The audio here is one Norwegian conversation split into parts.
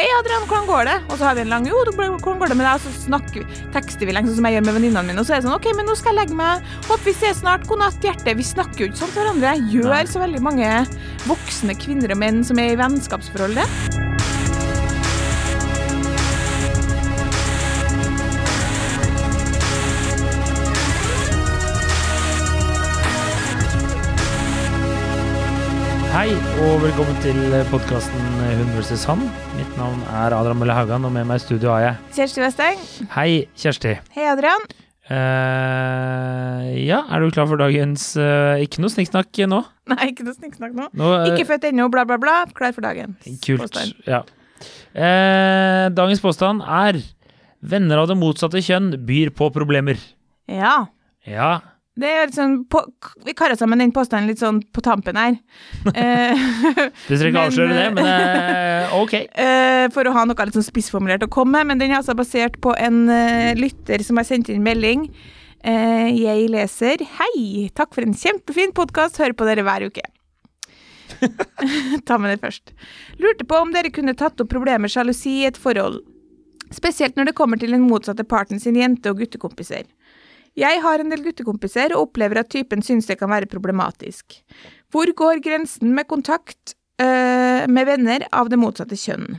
Hei, Adrian, hvordan går det? Og så har vi en lang Jo, du, hvordan går det med deg? Og så snakker vi, tekster vi lenge, sånn som jeg gjør med venninnene mine. Og så er det sånn OK, men nå skal jeg legge meg. Håper vi ses snart. God natt, hjerte. Vi snakker jo ikke sånn til hverandre. Gjør så veldig mange voksne kvinner og menn som er i vennskapsforhold det. Hei, og velkommen til podkasten Hun vs. han. Mitt navn er Adrian Mølle Haugan, og med meg i studio har jeg Kjersti Westeng. Hei, Kjersti. Hei, Adrian. Eh, ja, er du klar for dagens eh, Ikke noe snikksnakk nå. Nei, ikke noe snikksnakk nå. nå eh, Ikke født ennå, bla, bla, bla. Klar for dagen. Kult. Ja. Eh, dagens påstand er Venner av det motsatte kjønn byr på problemer. Ja. Ja. Det er litt sånn på, Vi karer sammen den påstanden litt sånn på tampen her. Eh, Du trenger ikke Men, avsløre det, men eh, ok. Eh, for å ha noe litt sånn spissformulert å komme med, men den er altså basert på en eh, lytter som har sendt inn melding. Eh, jeg leser Hei, takk for en kjempefin podkast, hører på dere hver uke. Ta med det først. Lurte på om dere kunne tatt opp problemet med sjalusi i et forhold. Spesielt når det kommer til den motsatte parten sin jente- og guttekompiser. Jeg har en del guttekompiser og opplever at typen synes det kan være problematisk. Hvor går grensen med kontakt eh, med venner av det motsatte kjønn?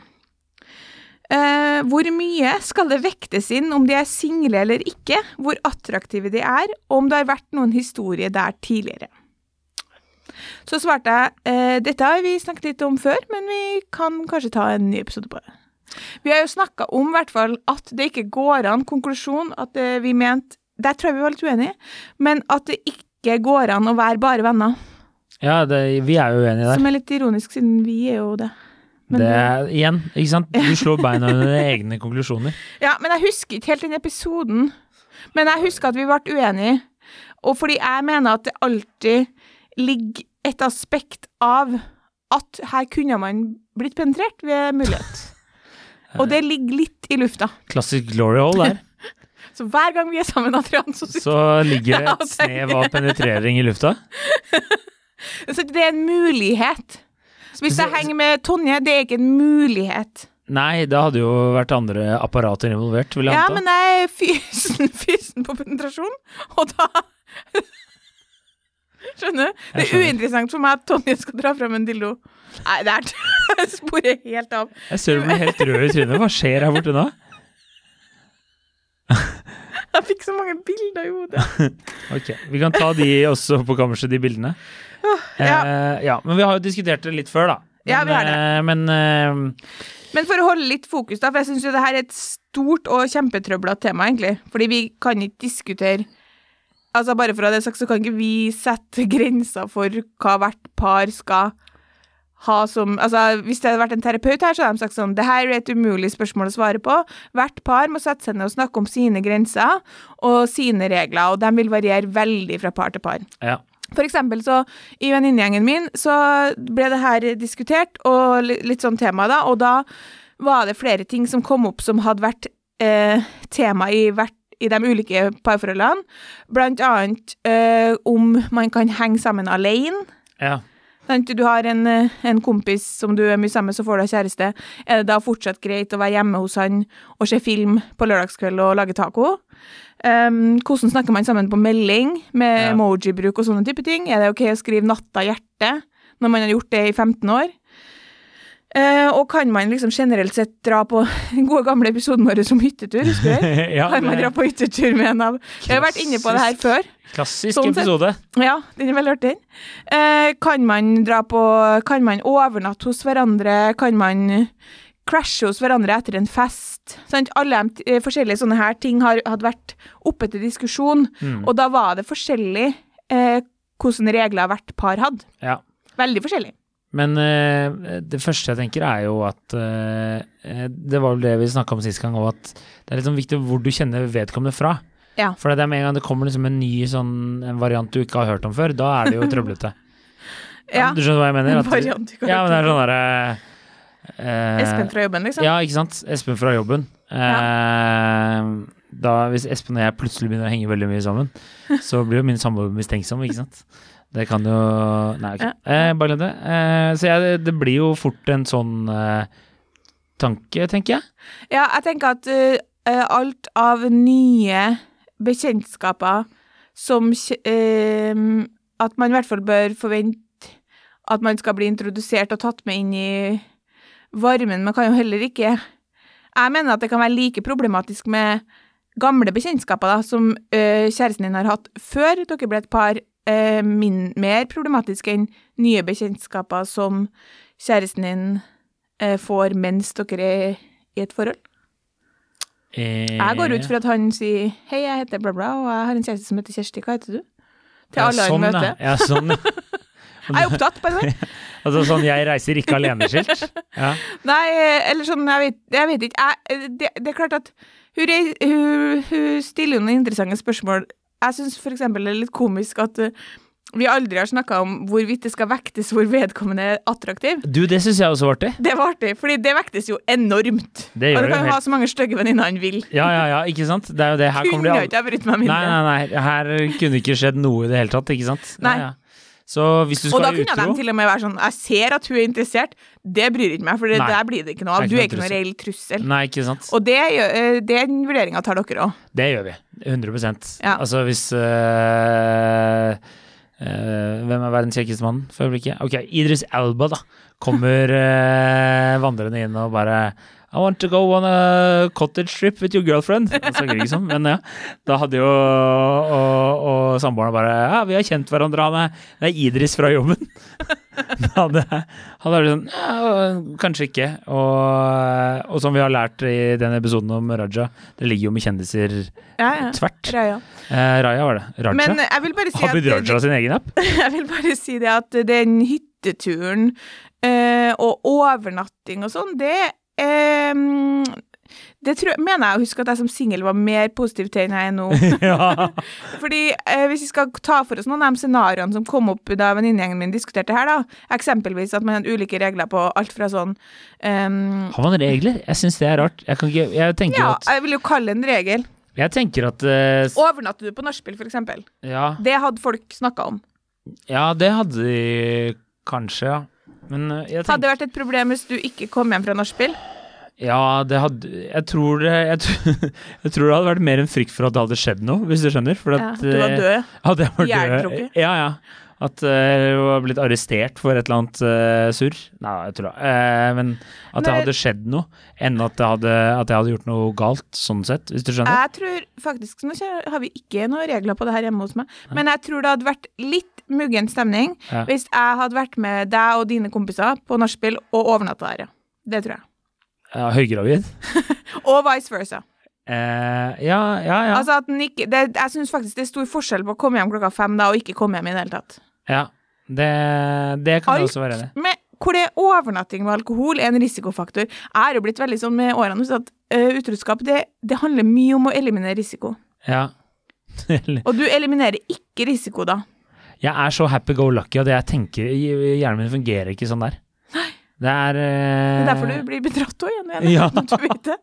Eh, hvor mye skal det vektes inn om de er single eller ikke, hvor attraktive de er, og om det har vært noen historie der tidligere? Så svarte jeg eh, dette har vi snakket litt om før, men vi kan kanskje ta en ny episode på det. Vi har jo snakka om i hvert fall at det ikke går an konklusjon at eh, vi mente Der tror jeg vi var litt uenige, men at det ikke går an å være bare venner. Ja, det, vi er jo uenige der. Som er litt ironisk, siden vi er jo det. Men, Det er, igjen, ikke sant. Du slår beina under dine egne konklusjoner. eh, Ja, men jeg husker ikke helt den episoden. Men jeg husker at vi ble uenige. Og fordi jeg mener at det alltid ligger et aspekt av at her kunne man blitt penetrert ved mulighet. Og det ligger litt i lufta. Klassisk glory hole der. Så hver gang vi er sammen, Adrian, så, så Så ligger det Ja, et snev av penetrering i lufta. det er en mulighet. Så hvis jeg henger med Tonje, det er ikke en mulighet. Nei, det hadde jo vært andre apparater involvert, vil jeg Ja, anta. men jeg er fysen, fysen på penetrasjon, og da Skjønner du? Det Jeg er skjønner. uinteressant for meg at Tonje skal dra fram en dildo. Nei, det er sporer helt av. Jeg ser du blir helt rød i trynet. Hva skjer her borte nå? Jeg fikk så mange bilder i hodet. Ok, Vi kan ta de også på kammerset, de bildene. Ja. Eh, ja, Men vi har jo diskutert det litt før, da. Men, Ja, vi har det. eh, men eh, Men for å holde litt fokus, da, for jeg syns jo det her er et stort og kjempetrøblete tema, egentlig. Fordi vi kan ikke diskutere Altså, bare for å ha det sagt, så kan ikke vi sette grenser for hva hvert par skal ha som Altså, hvis det hadde vært en terapeut her, så hadde de sagt sånn Det her er et umulig spørsmål å svare på. Hvert par må sette seg ned og snakke om sine grenser og sine regler, og de vil variere veldig fra par til par. ja. For eksempel så, i venninnegjengen min, så ble det her diskutert, og li- litt sånn tema da, og da var det flere ting som kom opp som hadde vært eh, tema i, hvert, i de ulike parforholdene. Blant annet eh, om man kan henge sammen alene. ja. Sant, Du har en, eh, en kompis som du er mye sammen med, så får du deg kjæreste. Er det da fortsatt greit å være hjemme hos han og se film på lørdagskveld og lage taco? Um, hvordan snakker man sammen på melding, med Ja. emoji-bruk og sånne type ting? Er det ok å skrive 'natta hjerte' når man har gjort det i 15 år? Eh, og kan man liksom generelt sett dra på den gode gamle episoden vår om hyttetur, husker du? ja Kan man det dra er på hyttetur med en av Vi har vært inne på det her før. klassisk Sånn sett- episode. Ja, den er veldig artig. Eh, kan man dra på Kan man overnatte hos hverandre? Kan man crashe hos hverandre etter en fest? Sant? Alle de eh, forskjellige sånne her ting har, hadde vært oppe til diskusjon, Mm. og da var det forskjellig eh, hvordan regler hvert par hadde. Ja. Veldig forskjellig. Men eh, det første jeg tenker er jo at eh, Det var vel det vi snakka om sist gang òg, at det er litt sånn viktig hvor du kjenner vedkommende fra. Ja. For det er med en gang det kommer liksom en ny sånn en variant du ikke har hørt om før, da er det jo trøblete. Ja. Du skjønner hva jeg mener? En At, variant du kan ja, men det er sånn derre eh, Espen fra jobben, liksom. Ja, ikke sant. Espen fra jobben. Eh, da, hvis Espen og jeg plutselig begynner å henge veldig mye sammen, så blir jo min samboer mistenksom, ikke sant. Det kan jo Nei, ok. Eh, bare glem det. Eh, så jeg, det blir jo fort en sånn eh, tanke, tenker jeg. Ja, jeg tenker at uh, uh, alt av nye bekjentskaper som kje- um, At man i hvert fall bør forvente at man skal bli introdusert og tatt med inn i varmen. Man kan jo heller ikke Jeg mener at det kan være like problematisk med gamle bekjentskaper da, som uh, kjæresten din har hatt før dere ble et par. Uh, min, mer problematisk enn nye bekjentskaper som kjæresten din uh, får mens dere er i et forhold. Eh, Jeg går ut for at han sier 'hei, jeg heter bla, bla, og jeg har en kjæreste som heter Kjersti, hva heter du?' Til alle han ja, møter. Ja, sånn, ja. Jeg er opptatt, by the way. Altså sånn 'jeg reiser ikke alene'-skilt. Ja. Nei, eh, eller sånn, jeg vet, jeg vet ikke. Jeg, eh, det, det er klart at hun, rei- hun, hun stiller jo noen interessante spørsmål. Jeg syns f.eks. det er litt komisk at eh, vi aldri har snakka om hvorvidt det skal vektes hvor vedkommende er attraktiv. Du, det syns jeg også var artig. Det var artig, fordi det vektes jo enormt. Det og du gjør det kan jo jo ha helt. så mange stygge venninner han vil. Ja, ja, ja, ikke sant. Det er jo det. Her kommer Kunne det jo aldri ikke ha brydd meg mindre. Nei, nei, nei, her kunne ikke skjedd noe i det hele tatt, ikke sant? Nei. Ja, ja. Så hvis du Og skal da være kunne de utro til og med være sånn Jeg ser at hun er interessert, det bryr ikke meg, for det Nei. der blir det ikke noe av. Det er Du ikke er ikke noe noen reell trussel. Nei, ikke sant. Og det, gjør- eh, den vurderinga tar dere òg. Det gjør vi. 100 Ja. Altså hvis øh, øh, Hvem er verdens kjekkeste mann for øyeblikket? Ok, Idris Elba, da. Kommer øh, vandrende inn og bare I want to go on a cottage trip with your girlfriend. Han snakker ikke sånn, men ja. Da hadde jo og, og samboerne bare Ja, vi har kjent hverandre, han er, det er Idris fra jobben. Da hadde hadde vært sånn ja, Kanskje ikke. Og, og som vi har lært i den episoden om Raja, det ligger jo med kjendiser Ja, ja. tvert. Ja, ja. Eh, Raja var det. Raja. Men eh, jeg vil bare si Abid at, Raja sin egen app? jeg vil bare si det at den hytteturen eh, og overnatting og sånn, det eh, det tror, jeg- mener jeg å huske at jeg som singel var mer positiv til enn jeg er nå. ja. Fordi eh, Hvis vi skal ta for oss noen av de scenarioene som kom opp da venninnegjengen min diskuterte her, da, eksempelvis at man har ulike regler på alt fra sånn ehm, Har man regler? Jeg syns det er rart. Jeg, kan ikke, jeg tenker Ja, eh, at, jeg vil jo kalle det en regel. jeg tenker at eh, s- Overnatter du på nachspiel, f.eks.? ja, Det hadde folk snakka om. ja, det hadde de kanskje, ja. Men eh, jeg Hadde tenker det vært et problem hvis du ikke kom hjem fra nachspiel? Ja, det hadde Jeg tror det jeg, tr- jeg tror det hadde vært mer en frykt for at det hadde skjedd noe, hvis du skjønner. For Ja, at du var eh, død. Hadde jeg vært Jernkrukket. død Ja, ja. At eh, jeg var blitt arrestert for et eller annet eh, surr. Nei, jeg tulla. Eh, men at det Nei. hadde skjedd noe, enn at, det hadde, at jeg hadde gjort noe galt, sånn sett, hvis du skjønner? Jeg tror faktisk Nå kjø- har vi ikke noen regler på det her hjemme hos meg, men jeg tror det hadde vært litt muggen stemning Ja. hvis jeg hadde vært med deg og dine kompiser på nachspiel og overnatta der, ja. Det tror jeg. Ja, høygravid? Og vice versa. Eh, ja, ja, ja. Altså at den ikke, det, jeg syns faktisk det er stor forskjell på å komme hjem klokka fem da og ikke komme hjem i det hele tatt. ja. Det, det kan jeg Alt også være enig i. Men hvor det er overnatting med alkohol er en risikofaktor. Jeg er jo blitt veldig sånn med årene så at ø, utroskap det, det handler mye om å eliminere risiko. Ja. Eller- Og du eliminerer ikke risiko da. jeg er så happy go lucky at jeg tenker Hjernen min fungerer ikke sånn der. Det er eh, Det er derfor du blir bedratt òg, igjen. Ja. igjen, Du vet det.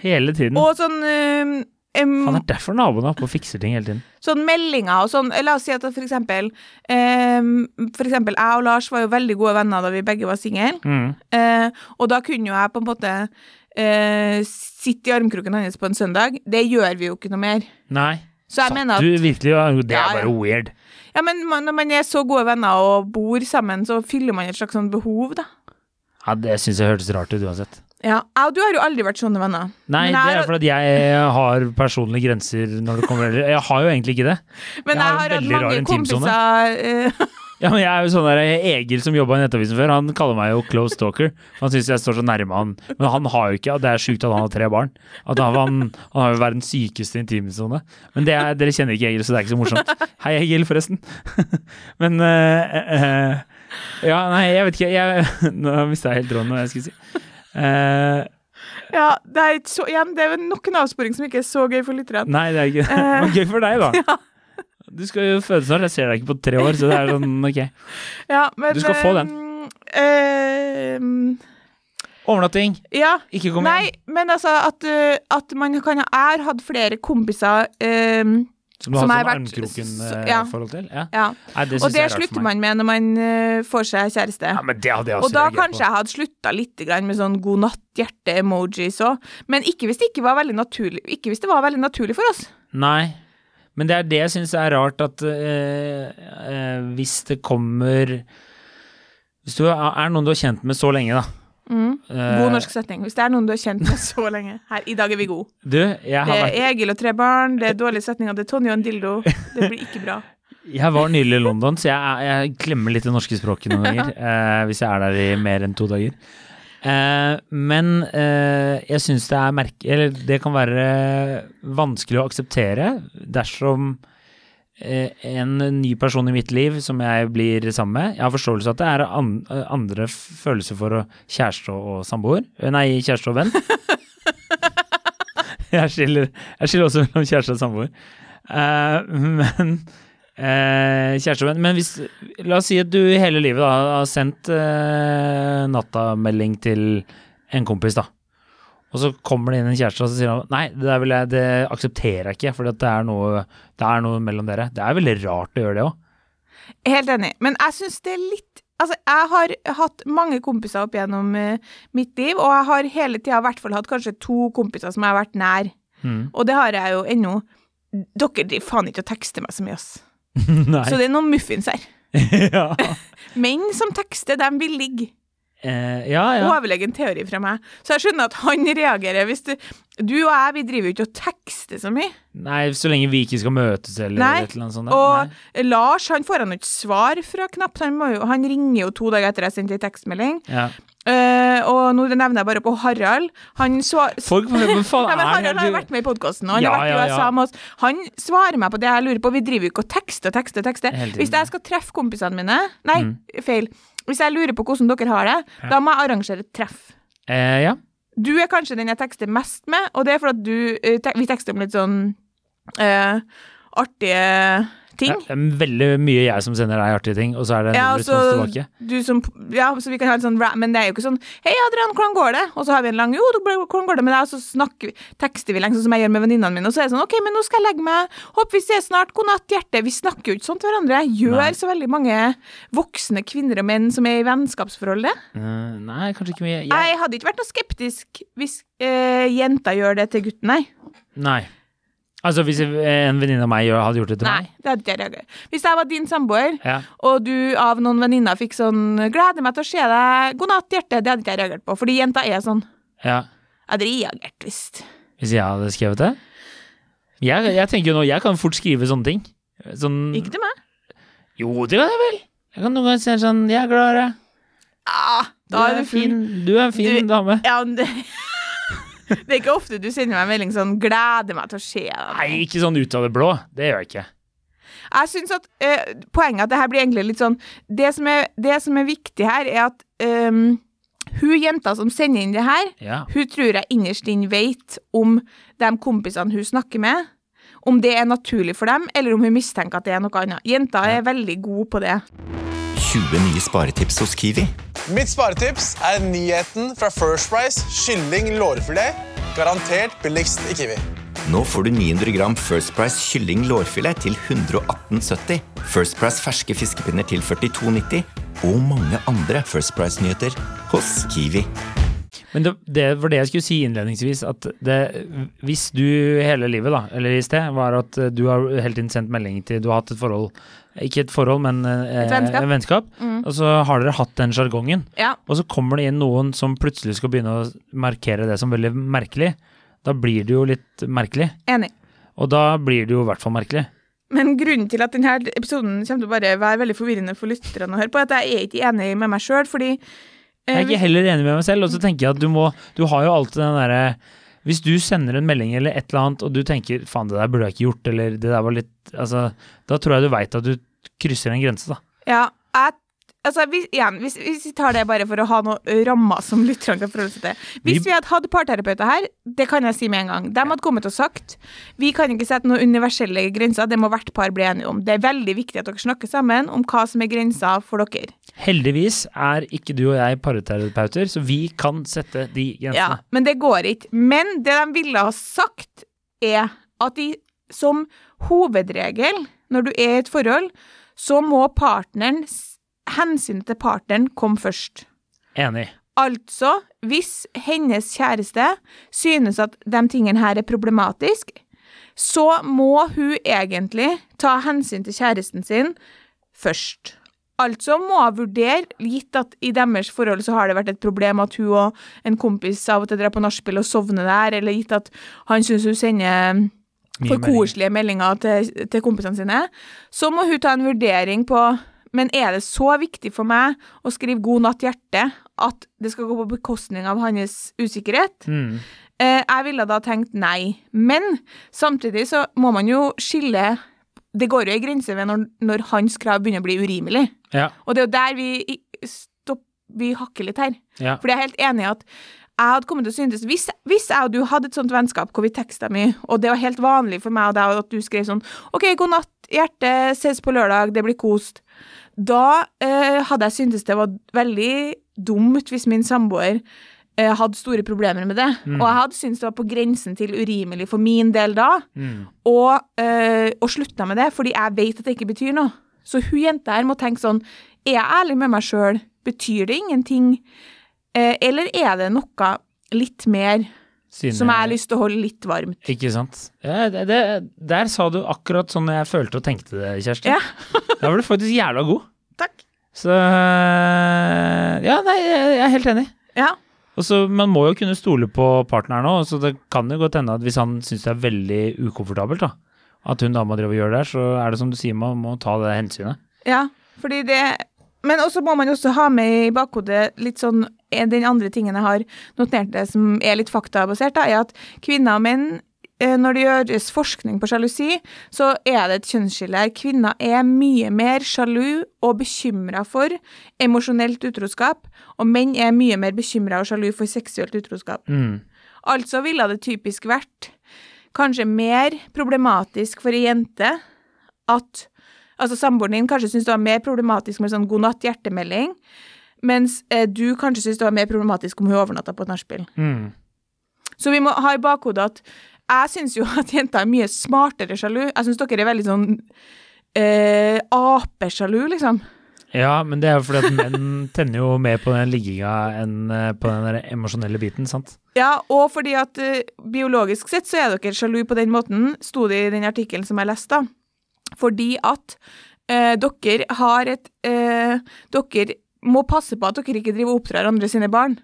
Hele tiden. Og sånn ø, em, Faen, det er derfor naboen er oppe og fikser ting hele tiden. sånn meldinger og sånn. La oss si at for eksempel, em, for eksempel jeg og Lars var jo veldig gode venner da vi begge var single. Mm. Eh, og da kunne jo jeg på en måte eh, sitte i armkroken hans på en søndag. Det gjør vi jo ikke noe mer. Nei. Så jeg Satt mener at du virkelig Det Ja, ja. er bare weird. ja, men man, når man er så gode venner og bor sammen, så fyller man et slags sånn behov, da. Ja, Det syns jeg hørtes rart ut uansett. Ja, jeg og du har jo aldri vært sånne venner. Nei, Men det jeg er har- fordi at jeg har personlige grenser når det kommer Jeg har jo egentlig ikke det. Men Jeg jeg, har har hatt veldig rar mange intimsone. kompiser eh, Ja, men jeg er jo sånn der Egil som jobba i Nettavisen før, han kaller meg jo close talker. Han syns jeg står så nærme han. Men han har jo ikke og Det er sjukt at han har tre barn. At han, han, han har jo verdens sykeste intimsone. Men det er, dere kjenner ikke Egil, så det er ikke så morsomt. Hei, Egil, forresten. Men eh, eh, Ja, nei, jeg vet ikke. Jeg, nå mista jeg helt tråden hva jeg skulle si. Eh, Ja, det er, ikke så, igjen, det er vel nok en avsporing som ikke er så gøy for lytterne. nei, det er ikke det. Eh. Men gøy for deg, da. Du skal jo føde snart. Jeg ser deg ikke på tre år, så det er sånn ok. Ja, men, Du skal få den. ehm, ehm, Overnatting. ja. Ikke kom Nei, igjen. men altså at, uh, at man kan ha Jeg har hatt flere kompiser ehm, Som du har som sånn har vært- så- ja. armkroken-forhold til. Ja. ja. Nei, det Og syns det jeg er rart slutter for meg. man med når man eh, får seg kjæreste. Ja, men det hadde jeg Og også da reagert på. kanskje jeg hadde slutta litt grann med sånn god natt-hjerte-emojis òg. Men ikke hvis, det ikke, var veldig naturlig, ikke hvis det var veldig naturlig for oss. Nei, men det er det jeg syns er rart at eh, eh, hvis det kommer Hvis du er- er noen du har kjent med så lenge, da. eh, God norsk setning. Hvis det er noen du har kjent med så lenge. Her, I dag er vi gode. Du, jeg, har Det vært, er Egil og tre barn, det er dårlige setninger, det er Tonje og en dildo. Det blir ikke bra. jeg var nylig i London, så jeg, er- jeg glemmer litt det norske språket noen ganger. eh, hvis jeg er der i mer enn to dager. Eh, men eh, jeg syns det er merke... Eller det kan være vanskelig å akseptere dersom eh, en ny person i mitt liv som jeg blir sammen med. Jeg har forståelse av at det er an eh, andre f- følelser for å- kjæreste og og samboer. Eh, Nei, kjæreste og venn. jeg, skiller, jeg skiller også mellom kjæreste og samboer. Eh, men eh, kjæreste og venn. Men hvis La oss si at du hele livet da, har sendt eh, nattamelding til en kompis, da. Og så kommer det inn en kjæreste og så sier han nei, det, der vil jeg, det aksepterer jeg ikke, for det, er noe- det er noe mellom dere. Det er veldig rart å gjøre det òg. Helt enig. Men jeg syns det er litt Altså, jeg har hatt mange kompiser opp gjennom eh, mitt liv, og jeg har hele tida i hvert fall hatt kanskje to kompiser som jeg har vært nær. Mm. Og det har jeg jo ennå. Dere driver faen ikke og tekster meg så mye, ass. Så Nei. det er noen muffins her. ja. Menn som tekster, dem vil ligge. Eh, ja, ja. Overlegen teori fra meg. Så jeg skjønner at han reagerer hvis du Du og jeg, vi driver jo ikke og tekster så mye. Nei, så lenge vi ikke skal møtes eller Nei, et eller annet sånt. Og Nei. Lars han får han jo ikke svar fra knapt. Han, må jo, han ringer jo to dager etter jeg sendte en tekstmelding. Ja. Eh, og nå nevner jeg bare på Harald. Han svar... Folk, hva faen Nei, men er Harald har jo det? vært med i podkasten, og han Ja, har vært i ja, ja. USA med oss. Han svarer meg på det jeg lurer på. Vi driver jo ikke og tekster og tekster. og tekster. Hele tiden. Mm. Hvis jeg skal treffe kompisene mine Nei, feil. Hvis jeg lurer på hvordan dere har det, da må jeg arrangere et treff. Eh, ja. Du er kanskje den jeg tekster mest med, og det er fordi at du eh, tek- Vi tekster om litt sånn eh, artige ting. Ja, det er veldig mye jeg som sender deg artige ting, og så er det en Ja, respons altså, tilbake. du som, ja, så vi kan ha litt sånn rap, men det er jo ikke sånn Hei, Adrian, hvordan går det? Og så har vi en lang Jo, det ble- hvordan går det med deg? Og så snakker vi, tekster vi lenge, sånn som jeg gjør med venninnene mine. Og så er det sånn OK, men nå skal jeg legge meg. Håper vi ses snart. God natt, hjerte. Vi snakker jo ikke sånn til hverandre. Gjør Nei. så veldig mange voksne kvinner og menn som er i vennskapsforhold det? Eh, nei, kanskje ikke mye. Jeg, Jeg hadde ikke vært noe skeptisk hvis eh, jenta gjør det til gutten, nei. nei. Altså, hvis en venninne av meg gjør- hadde gjort det til Nei, meg det hadde ikke jeg reagert. Hvis jeg var din samboer, ja. og du av noen venninner fikk sånn 'Gleder meg til å se deg. God natt, hjerte.' Det hadde ikke jeg reagert på, fordi jenta er sånn. ja. Jeg hadde reagert visst. Hvis jeg hadde skrevet det? Jeg, jeg tenker jo nå, jeg kan fort skrive sånne ting. Sånn Ikke til meg. Jo, det kan jeg vel! Jeg kan noen ganger si sånn Jeg er glad i deg. Ah, Du da er er en du fin, fin. du er en fin Du- dame. Ja, men det, det er ikke ofte du sender meg en melding sånn 'Gleder meg til å se deg'. Nei, ikke sånn ut av det blå. Det gjør jeg ikke. Jeg synes at eh, Poenget at det her blir egentlig litt sånn Det som er, det som er viktig her, er at ehm, hun jenta som sender inn det her, Ja. hun tror jeg innerst inn vet om de kompisene hun snakker med, om det er naturlig for dem, eller om hun mistenker at det er noe annet. Jenta er veldig god på det. 20 nye sparetips hos Kiwi. Mitt sparetips er nyheten fra First Price kylling lårfilet. Garantert billigst i Kiwi. Nå får du 900 gram First Price kylling lårfilet til 118,70. First Price ferske fiskepinner til 42,90. Og mange andre First Price-nyheter hos Kiwi. Men det, det var det jeg skulle si innledningsvis, at det, hvis du hele livet, da, eller i sted, var at eh, du har hele tiden sendt melding til Du har hatt et forhold, ikke et forhold, men eh, Et vennskap. Mm. en vennskap og så har dere hatt den sjargongen, Ja. og så kommer det inn noen som plutselig skal begynne å markere det som veldig merkelig, da blir det jo litt merkelig. Enig. Og da blir det jo i hvert fall merkelig. Men grunnen til at denne episoden kommer til å bare være veldig forvirrende for lytterne å høre på, er at jeg er ikke enig med meg sjøl, fordi eh, Jeg er ikke heller enig med meg selv, og så tenker jeg at du må Du har jo alltid den derre Hvis du sender en melding eller et eller annet, og du tenker 'faen, det der burde jeg ikke gjort', eller 'det der var litt Altså, da tror jeg du veit at du krysser en grense, da. Ja, jeg, altså, hvis, igjen, hvis, hvis vi tar det bare for å ha noen rammer som lytterne kan forholde seg til Hvis Vi- vi hadde hatt parterapeuter her, det kan jeg si med en gang, de hadde kommet og sagt vi kan ikke sette noen universelle grenser, det må hvert par bli enige om. Det er veldig viktig at dere snakker sammen om hva som er grensa for dere. Heldigvis er ikke du og jeg parterapeuter, så vi kan sette de Ja, grensene. men det går ikke. Men det de ville ha sagt, er at de som hovedregel, når du er i et forhold, så må partneren Hensynet til partneren komme først. Enig. Altså, hvis hennes kjæreste synes at de tingene her er problematisk, så må hun egentlig ta hensyn til kjæresten sin først. Altså må hun vurdere, gitt at i deres forhold så har det vært et problem at hun og en kompis av og til drar på nachspiel og sovner der, eller gitt at han syns hun sender Mye for meldinger. koselige meldinger til, til kompisene sine, så må hun ta en vurdering på men er det så viktig for meg å skrive 'God natt, hjerte' at det skal gå på bekostning av hans usikkerhet? Mm. Eh, jeg ville da tenkt nei. Men samtidig så må man jo skille Det går jo ei grense ved når, når hans krav begynner å bli urimelig. Ja, Og det er jo der vi, i- stopp, vi hakker litt her. ja. For jeg er helt enig i at jeg hadde kommet til å synes hvis, hvis jeg og du hadde et sånt vennskap hvor vi teksta mye, og det var helt vanlig for meg og deg at du skrev sånn OK, god natt, hjerte, ses på lørdag, det blir kost. Da eh, hadde jeg syntes det var veldig dumt hvis min samboer eh, hadde store problemer med det. Mm. Og jeg hadde syntes det var på grensen til urimelig for min del da Mm. og, øh, og slutta med det, fordi jeg vet at det ikke betyr noe. Så hun jenta her må tenke sånn Er jeg ærlig med meg sjøl? Betyr det ingenting? Eh, eller er det noe litt mer Siden som jeg har lyst til å holde litt varmt? Ikke sant. Ja, det, det, der sa du akkurat sånn jeg følte og tenkte det, Kjersti. Ja. da var du faktisk jævla god. Takk. Så Ja, nei, jeg jeg er helt enig. Ja. Og så, Man må jo kunne stole på partneren òg, så det kan jo godt hende at hvis han syns det er veldig ukomfortabelt, da, at hun dama driver og gjør det her, så er det som du sier, man må ta det hensynet. Ja, fordi det Men også må man jo også ha med i bakhodet litt sånn eh, Den andre tingen jeg har notert det som er litt faktabasert, da, er at kvinner og menn eh, når det gjøres forskning på sjalusi, så er det et kjønnsskille her. Kvinner er mye mer sjalu og bekymra for emosjonelt utroskap, og menn er mye mer bekymra og sjalu for seksuelt utroskap. Mm. Altså ville det typisk vært kanskje mer problematisk for ei jente at Altså, samboeren din kanskje syns det var mer problematisk med sånn god natt-hjertemelding, mens eh, du kanskje syns det var mer problematisk om hun overnatta på et nachspiel. Mm. Så vi må ha i bakhodet at jeg syns jo at jenter er mye smartere sjalu. Jeg syns dere er veldig sånn eh, apesjalu, liksom. Ja, men det er jo fordi at menn tenner jo mer på den ligginga enn eh, på den der emosjonelle biten, sant. Ja, og fordi at eh, biologisk sett så er dere sjalu på den måten, sto det i den artikkelen som jeg leste, da. Fordi at eh, dere har et eh, Dere må passe på at dere ikke driver og oppdrar andre sine barn.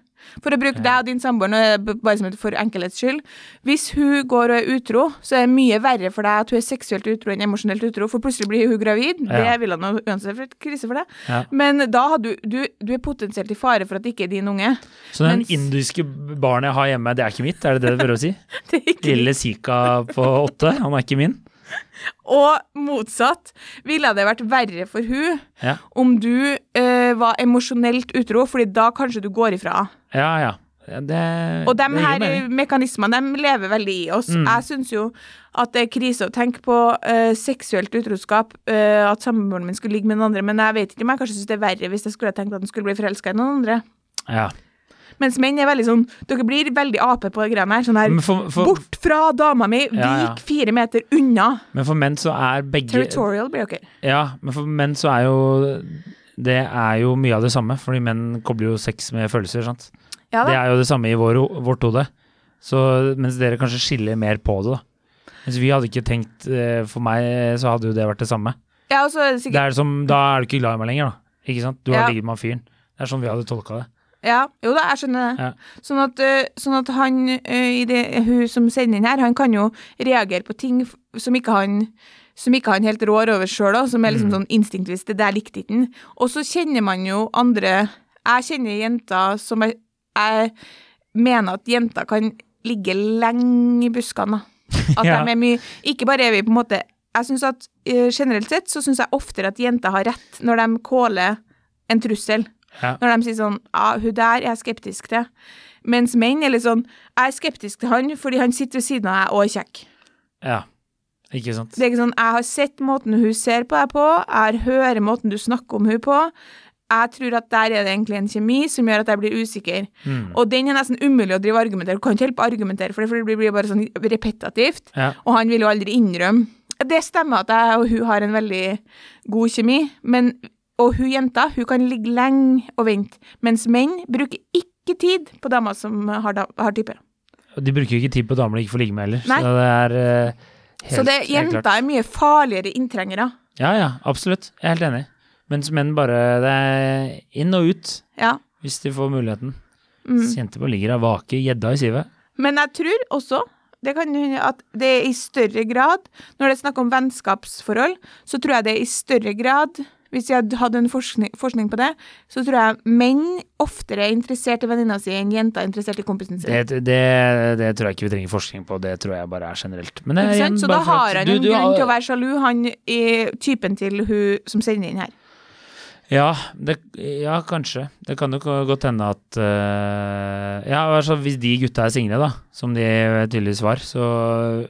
For å bruke deg og din samboer nå, eh, b- bare som et for enkelhets skyld. Hvis hun går og er utro, så er det mye verre for deg at hun er seksuelt utro enn emosjonelt utro, for plutselig blir hun gravid. Ja. Det ville han uansett vært krise for deg. Ja. Men da har du, du Du er potensielt i fare for at det ikke er din unge. Så den Mens- indiske barnet jeg har hjemme, det er ikke mitt, er det det du prøver å si? Det er ikke Lille Sika på åtte, han er ikke min. Og motsatt ville det vært verre for hun Ja, om du eh, var emosjonelt utro, fordi da kanskje du går ifra. ja. ja. Ja, Det, Og de det gir her mening. Mm. mekanismene de lever veldig i oss. Jeg syns jo at det er krise å tenke på eh, seksuelt utroskap, eh, at samboeren min skulle ligge med den andre, men jeg vet ikke om jeg kanskje syns det er verre hvis jeg skulle ha tenkt at den skulle bli forelska i noen andre. Ja. Mens menn er veldig sånn Dere blir veldig ape på de greiene her. Sånn her Men for, for, Bort fra dama mi! Vik Ja, ja. fire meter unna! men for menn så er begge Territorial blir dere. Ja, men for menn så er jo Det er jo mye av det samme, fordi menn kobler jo sex med følelser, sant. Ja Det da. er jo det samme i vår, vårt hode. Så mens dere kanskje skiller mer på det, da. Mens vi hadde ikke tenkt eh, For meg så hadde jo det vært det samme. Ja, og så er det sikkert Det er som, da er du ikke glad i meg lenger, da. Ikke sant? Du har Ja. ligget med han fyren. Det er sånn vi hadde tolka det. Ja, jo da, jeg skjønner det. Ja. Sånn, at, eh, sånn at han eh, i det, hun som sender inn her, han kan jo reagere på ting f- som ikke han som ikke han helt rår over sjøl, som er Mm. liksom sånn instinktvis 'det der likte ikke han'. Og så kjenner man jo andre Jeg kjenner jenter som jeg, jeg mener at jenter kan ligge lenge i buskene. da. At Ja. de er mye Ikke bare er vi på en måte Jeg synes at eh, Generelt sett så syns jeg oftere at jenter har rett når de caller en trussel. Ja. Når de sier sånn Ja, hun der er jeg skeptisk til. Mens menn er litt sånn Jeg er skeptisk til han fordi han sitter ved siden av meg og er kjekk. ja. Ikke sant? Det er ikke sånn Jeg har sett måten hun ser på deg på, jeg hører måten du snakker om hun på. Jeg tror at der er det egentlig en kjemi som gjør at jeg blir usikker. Og den er nesten umulig å drive argumentere. Du kan ikke helt argumentere for det, for det blir bare sånn repetativt. Ja. Og han vil jo aldri innrømme. Det stemmer at jeg og hun har en veldig god kjemi, men, og hun jenta hun kan ligge lenge og vente, mens menn bruker ikke tid på damer som har, da, har type. Og De bruker jo ikke tid på damer de ikke får ligge med heller. Nei. Så det er eh, helt, Så det, helt klart. jenta er mye farligere inntrengere. Ja, ja, absolutt. Jeg er helt enig. Mens menn bare Det er inn og ut, Ja. hvis de får muligheten. Mm. Så Jenter bare ligger og vaker gjedda i sivet. Men jeg tror også det kan, hende at det er i større grad Når det er snakk om vennskapsforhold, så tror jeg det er i større grad Hvis jeg hadde hatt en forskning, forskning på det, så tror jeg menn oftere er interessert i venninna si enn jenter er interessert i kompisen sin. Det, det, det tror jeg ikke vi trenger forskning på, det tror jeg bare er generelt. Men det er Ikke sant? Eh, igjen Så bare da for at har han du- en du grunn har- til å være sjalu, han er typen til hun som sender inn her. Ja, det, ja, kanskje. Det kan jo godt hende at eh, Ja, altså hvis de gutta er single, da, som de tydeligvis var, så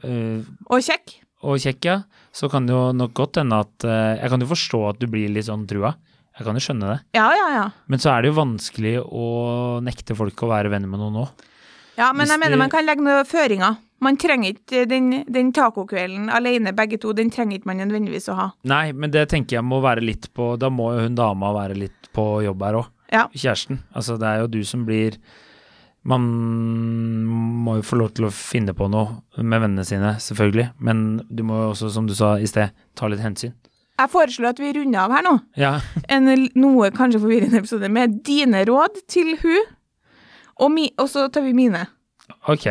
eh, Og kjekk. og kjekk, ja, så kan det jo nok godt hende at eh, Jeg kan jo forstå at du blir litt sånn trua. Jeg kan jo skjønne det. Ja, ja, ja. Men så er det jo vanskelig å nekte folk å være venner med noen nå. Ja, men Hvis jeg mener du- man kan legge noen føringer. Man trenger ikke den, den tacokvelden alene, begge to. Den trenger ikke man nødvendigvis å ha. Nei, men det tenker jeg må være litt på Da må jo hun dama være litt på jobb her òg. Ja. Kjæresten. Altså, det er jo du som blir Man må jo få lov til å finne på noe med vennene sine, selvfølgelig. Men du må jo også, som du sa i sted, ta litt hensyn. Jeg foreslår at vi runder av her nå. Ja. En l- noe kanskje forvirrende episode med dine råd til hun, og, mi, og så tar vi mine. Ok.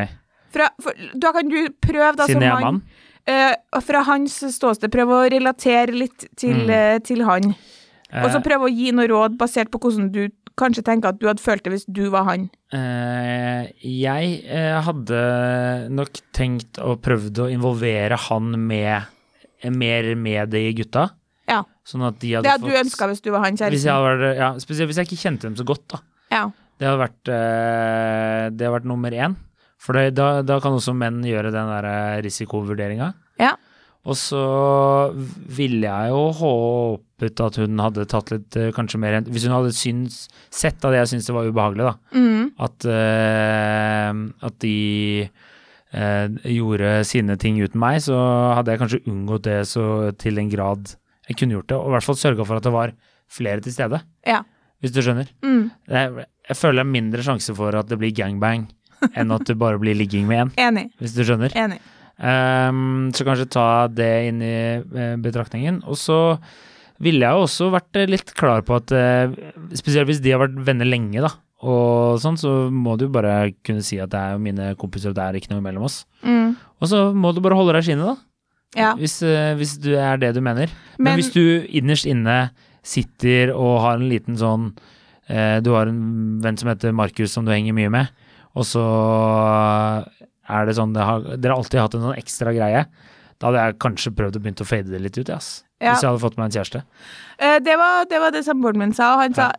Fra, for, da kan du prøve, da, Siden som jeg er mann. mann, eh, og fra hans ståsted, prøve å relatere litt til, Mm. eh, til han. Og så Eh, prøve å gi noe råd basert på hvordan du kanskje tenker at du hadde følt det hvis du var han. Eh, jeg eh, hadde nok tenkt og prøvd å involvere han med mer med de gutta. Ja. Sånn at de hadde Det liksom- hadde du fått- ønska hvis du var han, Hvis jeg kjæresten. hadde vært, ja, spesielt hvis jeg ikke kjente dem så godt, da. Ja. Det hadde vært, eh, det hadde vært nummer én. For det, da, da kan også menn gjøre den der eh, risikovurderinga. Ja. Og så ville jeg jo håpet at hun hadde tatt litt eh, kanskje mer hen- Hvis hun hadde syns, sett av det jeg syntes det var ubehagelig, da. At, eh, at de eh, gjorde sine ting uten meg, så hadde jeg kanskje unngått det så til en grad jeg kunne gjort det. Og i hvert fall sørga for at det var flere til stede, ja. hvis du skjønner. Mm. Jeg, jeg føler det er mindre sjanse for at det blir gangbang enn at det bare blir ligging med én, Enig. hvis du skjønner. Enig. Ehm, så kanskje ta det inn i eh, betraktningen. Og så ville jeg jo også vært eh, litt klar på at eh, spesielt hvis de har vært venner lenge, da, og sånn, så må du jo bare kunne si at det er jo mine kompiser, og det er ikke noe mellom oss. Mm. Og så må du bare holde deg i skinnet, da. Ja. Hvis, eh, hvis du er det du mener. Men, Men- hvis du innerst inne sitter og har en liten sånn eh, Du har en venn som heter Markus som du henger mye med, og så er det sånn det har, Dere har alltid hatt en sånn ekstra greie. Da hadde jeg kanskje prøvd å begynne å fade det litt ut, jeg, ass. Ja. Hvis jeg hadde fått meg en kjæreste. Eh, Det var det, var det samboeren min sa, og han sa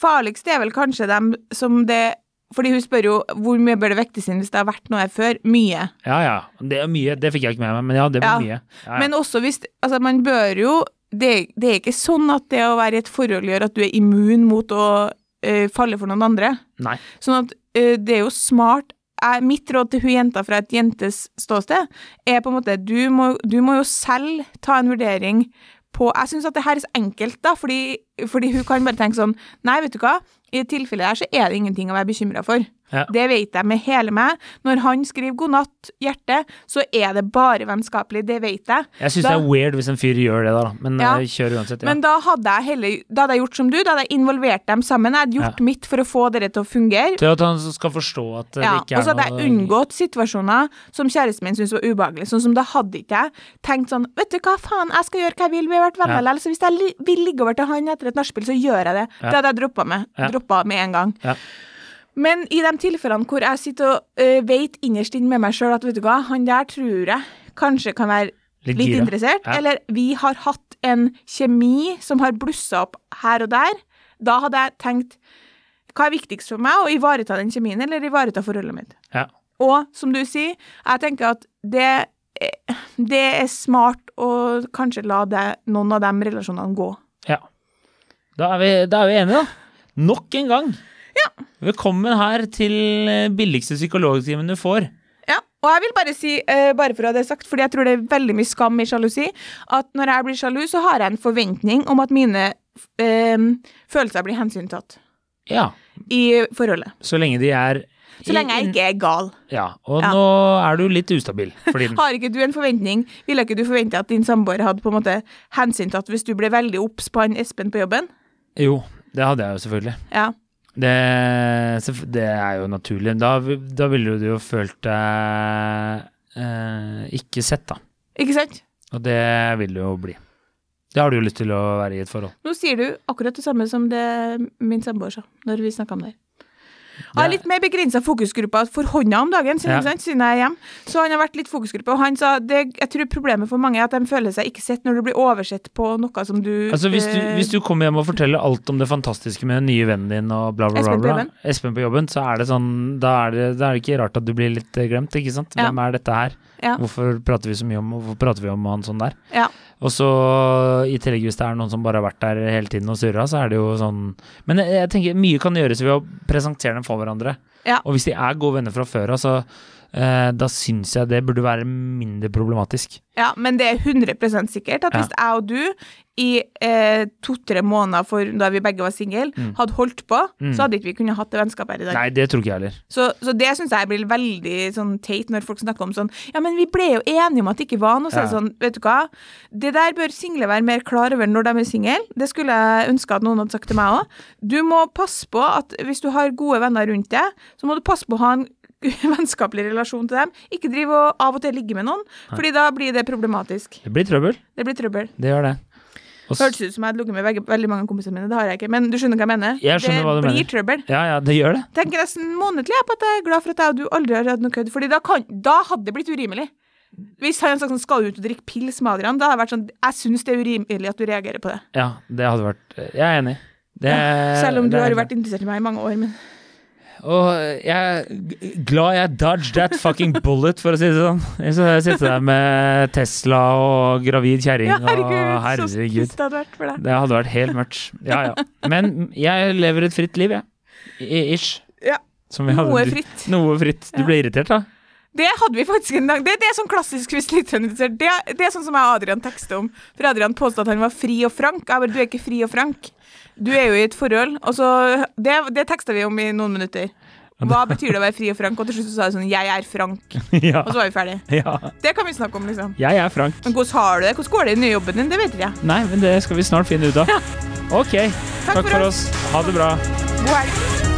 farligst er vel kanskje dem som det Fordi hun spør jo hvor mye bør det vektes inn hvis det har vært noe her før. Mye. Ja ja, det er mye. Det fikk jeg ikke med meg, men ja, det Ja. var mye. Ja, ja. Men også hvis Altså, man bør jo det, det er ikke sånn at det å være i et forhold gjør at du er immun mot å eh, falle for noen andre. Nei. Sånn at eh, det er jo smart. Jeg- mitt råd til hun jenta fra et jentes ståsted er på en måte Du må, du må jo selv ta en vurdering på Jeg syns at det her er så enkelt, da, fordi, fordi hun kan bare tenke sånn Nei, vet du hva, i det tilfellet her så er det ingenting å være bekymra for. Ja. Det vet jeg med hele meg. Når han skriver 'god natt, hjerte', så er det bare vennskapelig. Det vet jeg. Jeg syns det Da- er weird hvis en fyr gjør det, da, men Ja. eh, kjør uansett. Ja. men da hadde jeg heller Da hadde jeg gjort som du, da hadde jeg involvert dem sammen. Jeg hadde gjort Ja. mitt for å få dere til å fungere. Til at han skal forstå at det Ja, og ikke er så hadde jeg unngått situasjoner som kjæresten min syntes var ubehagelig. Sånn som da hadde ikke jeg tenkt sånn Vet du hva, faen, jeg skal gjøre hva jeg vil, vi har vært venner Ja. likevel, så hvis jeg li vil ligge over til han etter et nachspiel, så gjør jeg det. Det hadde jeg droppa med. Ja. Droppa med en gang. Ja. Men i de tilfellene hvor jeg sitter og ø, vet innerst inne med meg sjøl at vet du hva, han der tror jeg kanskje kan være Litt litt, gira. interessert, Ja. eller vi har hatt en kjemi som har blussa opp her og der, Da hadde jeg tenkt hva er viktigst for meg, å ivareta den kjemien eller ivareta forholdet mitt? Ja. Og som du sier, jeg tenker at det, det er smart å kanskje la det, noen av de relasjonene gå. ja. Da, er vi, da er vi enige, da. Nok en gang. Velkommen her til eh, billigste psykologtimen du får. Ja, og jeg vil bare si, eh, bare for å ha det sagt, fordi jeg tror det er veldig mye skam i sjalusi, at når jeg blir sjalu, så har jeg en forventning om at mine eh, følelser blir hensyntatt Ja. i forholdet. Så lenge de er Så lenge jeg ikke er gal. Ja. Og Ja. nå er du litt ustabil for tiden. Har ikke du en forventning? Ville ikke du forvente at din samboer hadde på en måte hensyntatt hvis du ble veldig obs på han Espen på jobben? Jo, det hadde jeg jo selvfølgelig. Ja. Det, selvf- det er jo naturlig. Da, da ville du jo følt deg eh, ikke sett, da. Ikke sant? Og det vil du jo bli. Det har du jo lyst til å være i et forhold. Nå sier du akkurat det samme som det min samboer sa når vi snakka om det. her. Jeg har litt mer begrensa fokusgrupper for hånda om dagen, siden, Ja. ikke sant, siden jeg er hjemme. Så han har vært litt fokusgruppe, og han sa det, jeg tror problemet for mange er at de føler seg ikke sett når du blir oversett på noe som du Altså hvis du, eh, hvis du kommer hjem og forteller alt om det fantastiske med den nye vennen din og bla, bla, bla, Espen på bla jobben. Espen på jobben, så er det sånn Da er det, da er det ikke rart at du blir litt eh, glemt, ikke sant? Ja. Hvem er dette her? Ja. Hvorfor prater vi så mye om Hvorfor prater vi om han sånn der? eh, Ja. Og så i tillegg hvis det er noen som bare har vært der hele tiden og surra, så er det jo sånn Men jeg, jeg tenker mye kan gjøres ved å presentere dem for hverandre. Ja. Og hvis de er gode venner fra før av, så eh, da syns jeg det burde være mindre problematisk. Ja, men det er 100 sikkert at Ja. hvis jeg og du i eh, to-tre måneder for da vi begge var single, Mm. hadde holdt på, så hadde ikke vi kunnet hatt det vennskapet her i dag. Nei, det tror ikke jeg heller. Så, så det syns jeg blir veldig sånn teit når folk snakker om sånn Ja, men vi ble jo enige om at det ikke var noe, så er det Ja. sånn, vet du hva. Det der bør single være mer klar over når de er single. Det skulle jeg ønske at noen hadde sagt til meg òg. Du må passe på at hvis du har gode venner rundt deg, så må du passe på å ha en vennskapelig relasjon til dem. Ikke drive og av og til ligge med noen, Fordi da blir det problematisk. Det blir trøbbel. Det blir trøbbel. Det gjør det. Og s- Hørtes ut som jeg hadde ligget med veldig, veldig mange av kompisene mine, det har jeg ikke. Men du skjønner hva jeg mener? Jeg skjønner det hva du blir mener. trøbbel. Ja, ja, det gjør det. tenker nesten månedlig jeg, på at jeg er glad for at jeg og du aldri har hatt noe kødd. Fordi da, kan, da hadde det blitt urimelig. Hvis han hadde sagt sånn, skal du ut og drikke pils med Adrian, da hadde jeg vært sånn, jeg syns det er urimelig at du reagerer på det. Ja, det hadde vært Jeg er enig. Det, Selv om du Eh, det er har jo enig. vært interessert i meg i mange år, men Og jeg er g- glad jeg dodged that fucking bullet, for å si det sånn. Ellers hadde jeg sittet der med Tesla og gravid kjerring ja, og herregud, så herregud. trist det hadde vært for deg. Det hadde vært helt mørkt. Ja, ja. Men jeg lever et fritt liv, jeg. I- Ish. Ja, Som vi noe hadde- fritt. Noe fritt. Du ble irritert, da? Det hadde vi faktisk en dag. Det, det er sånn klassisk hvis lytteren er interessert. Det, det er sånn som jeg og Adrian tekster om. For Adrian påstod at han var fri og frank. Jeg bare, du er ikke fri og frank. Du er jo i et forhold. Og så, det, det teksta vi om i noen minutter. Hva betyr det å være fri og frank? Og til slutt så sa jeg sånn, jeg er frank. Ja. Og så var vi ferdige. ja. Det kan vi snakke om, liksom. Altså- Jeg er Frank. Men hvordan har du det? Hvordan går det i den nye jobben din? Det vet ikke jeg. Nei, men det skal vi snart finne ut av. Ok. for Takk for oss. oss. Ha det bra. God helg.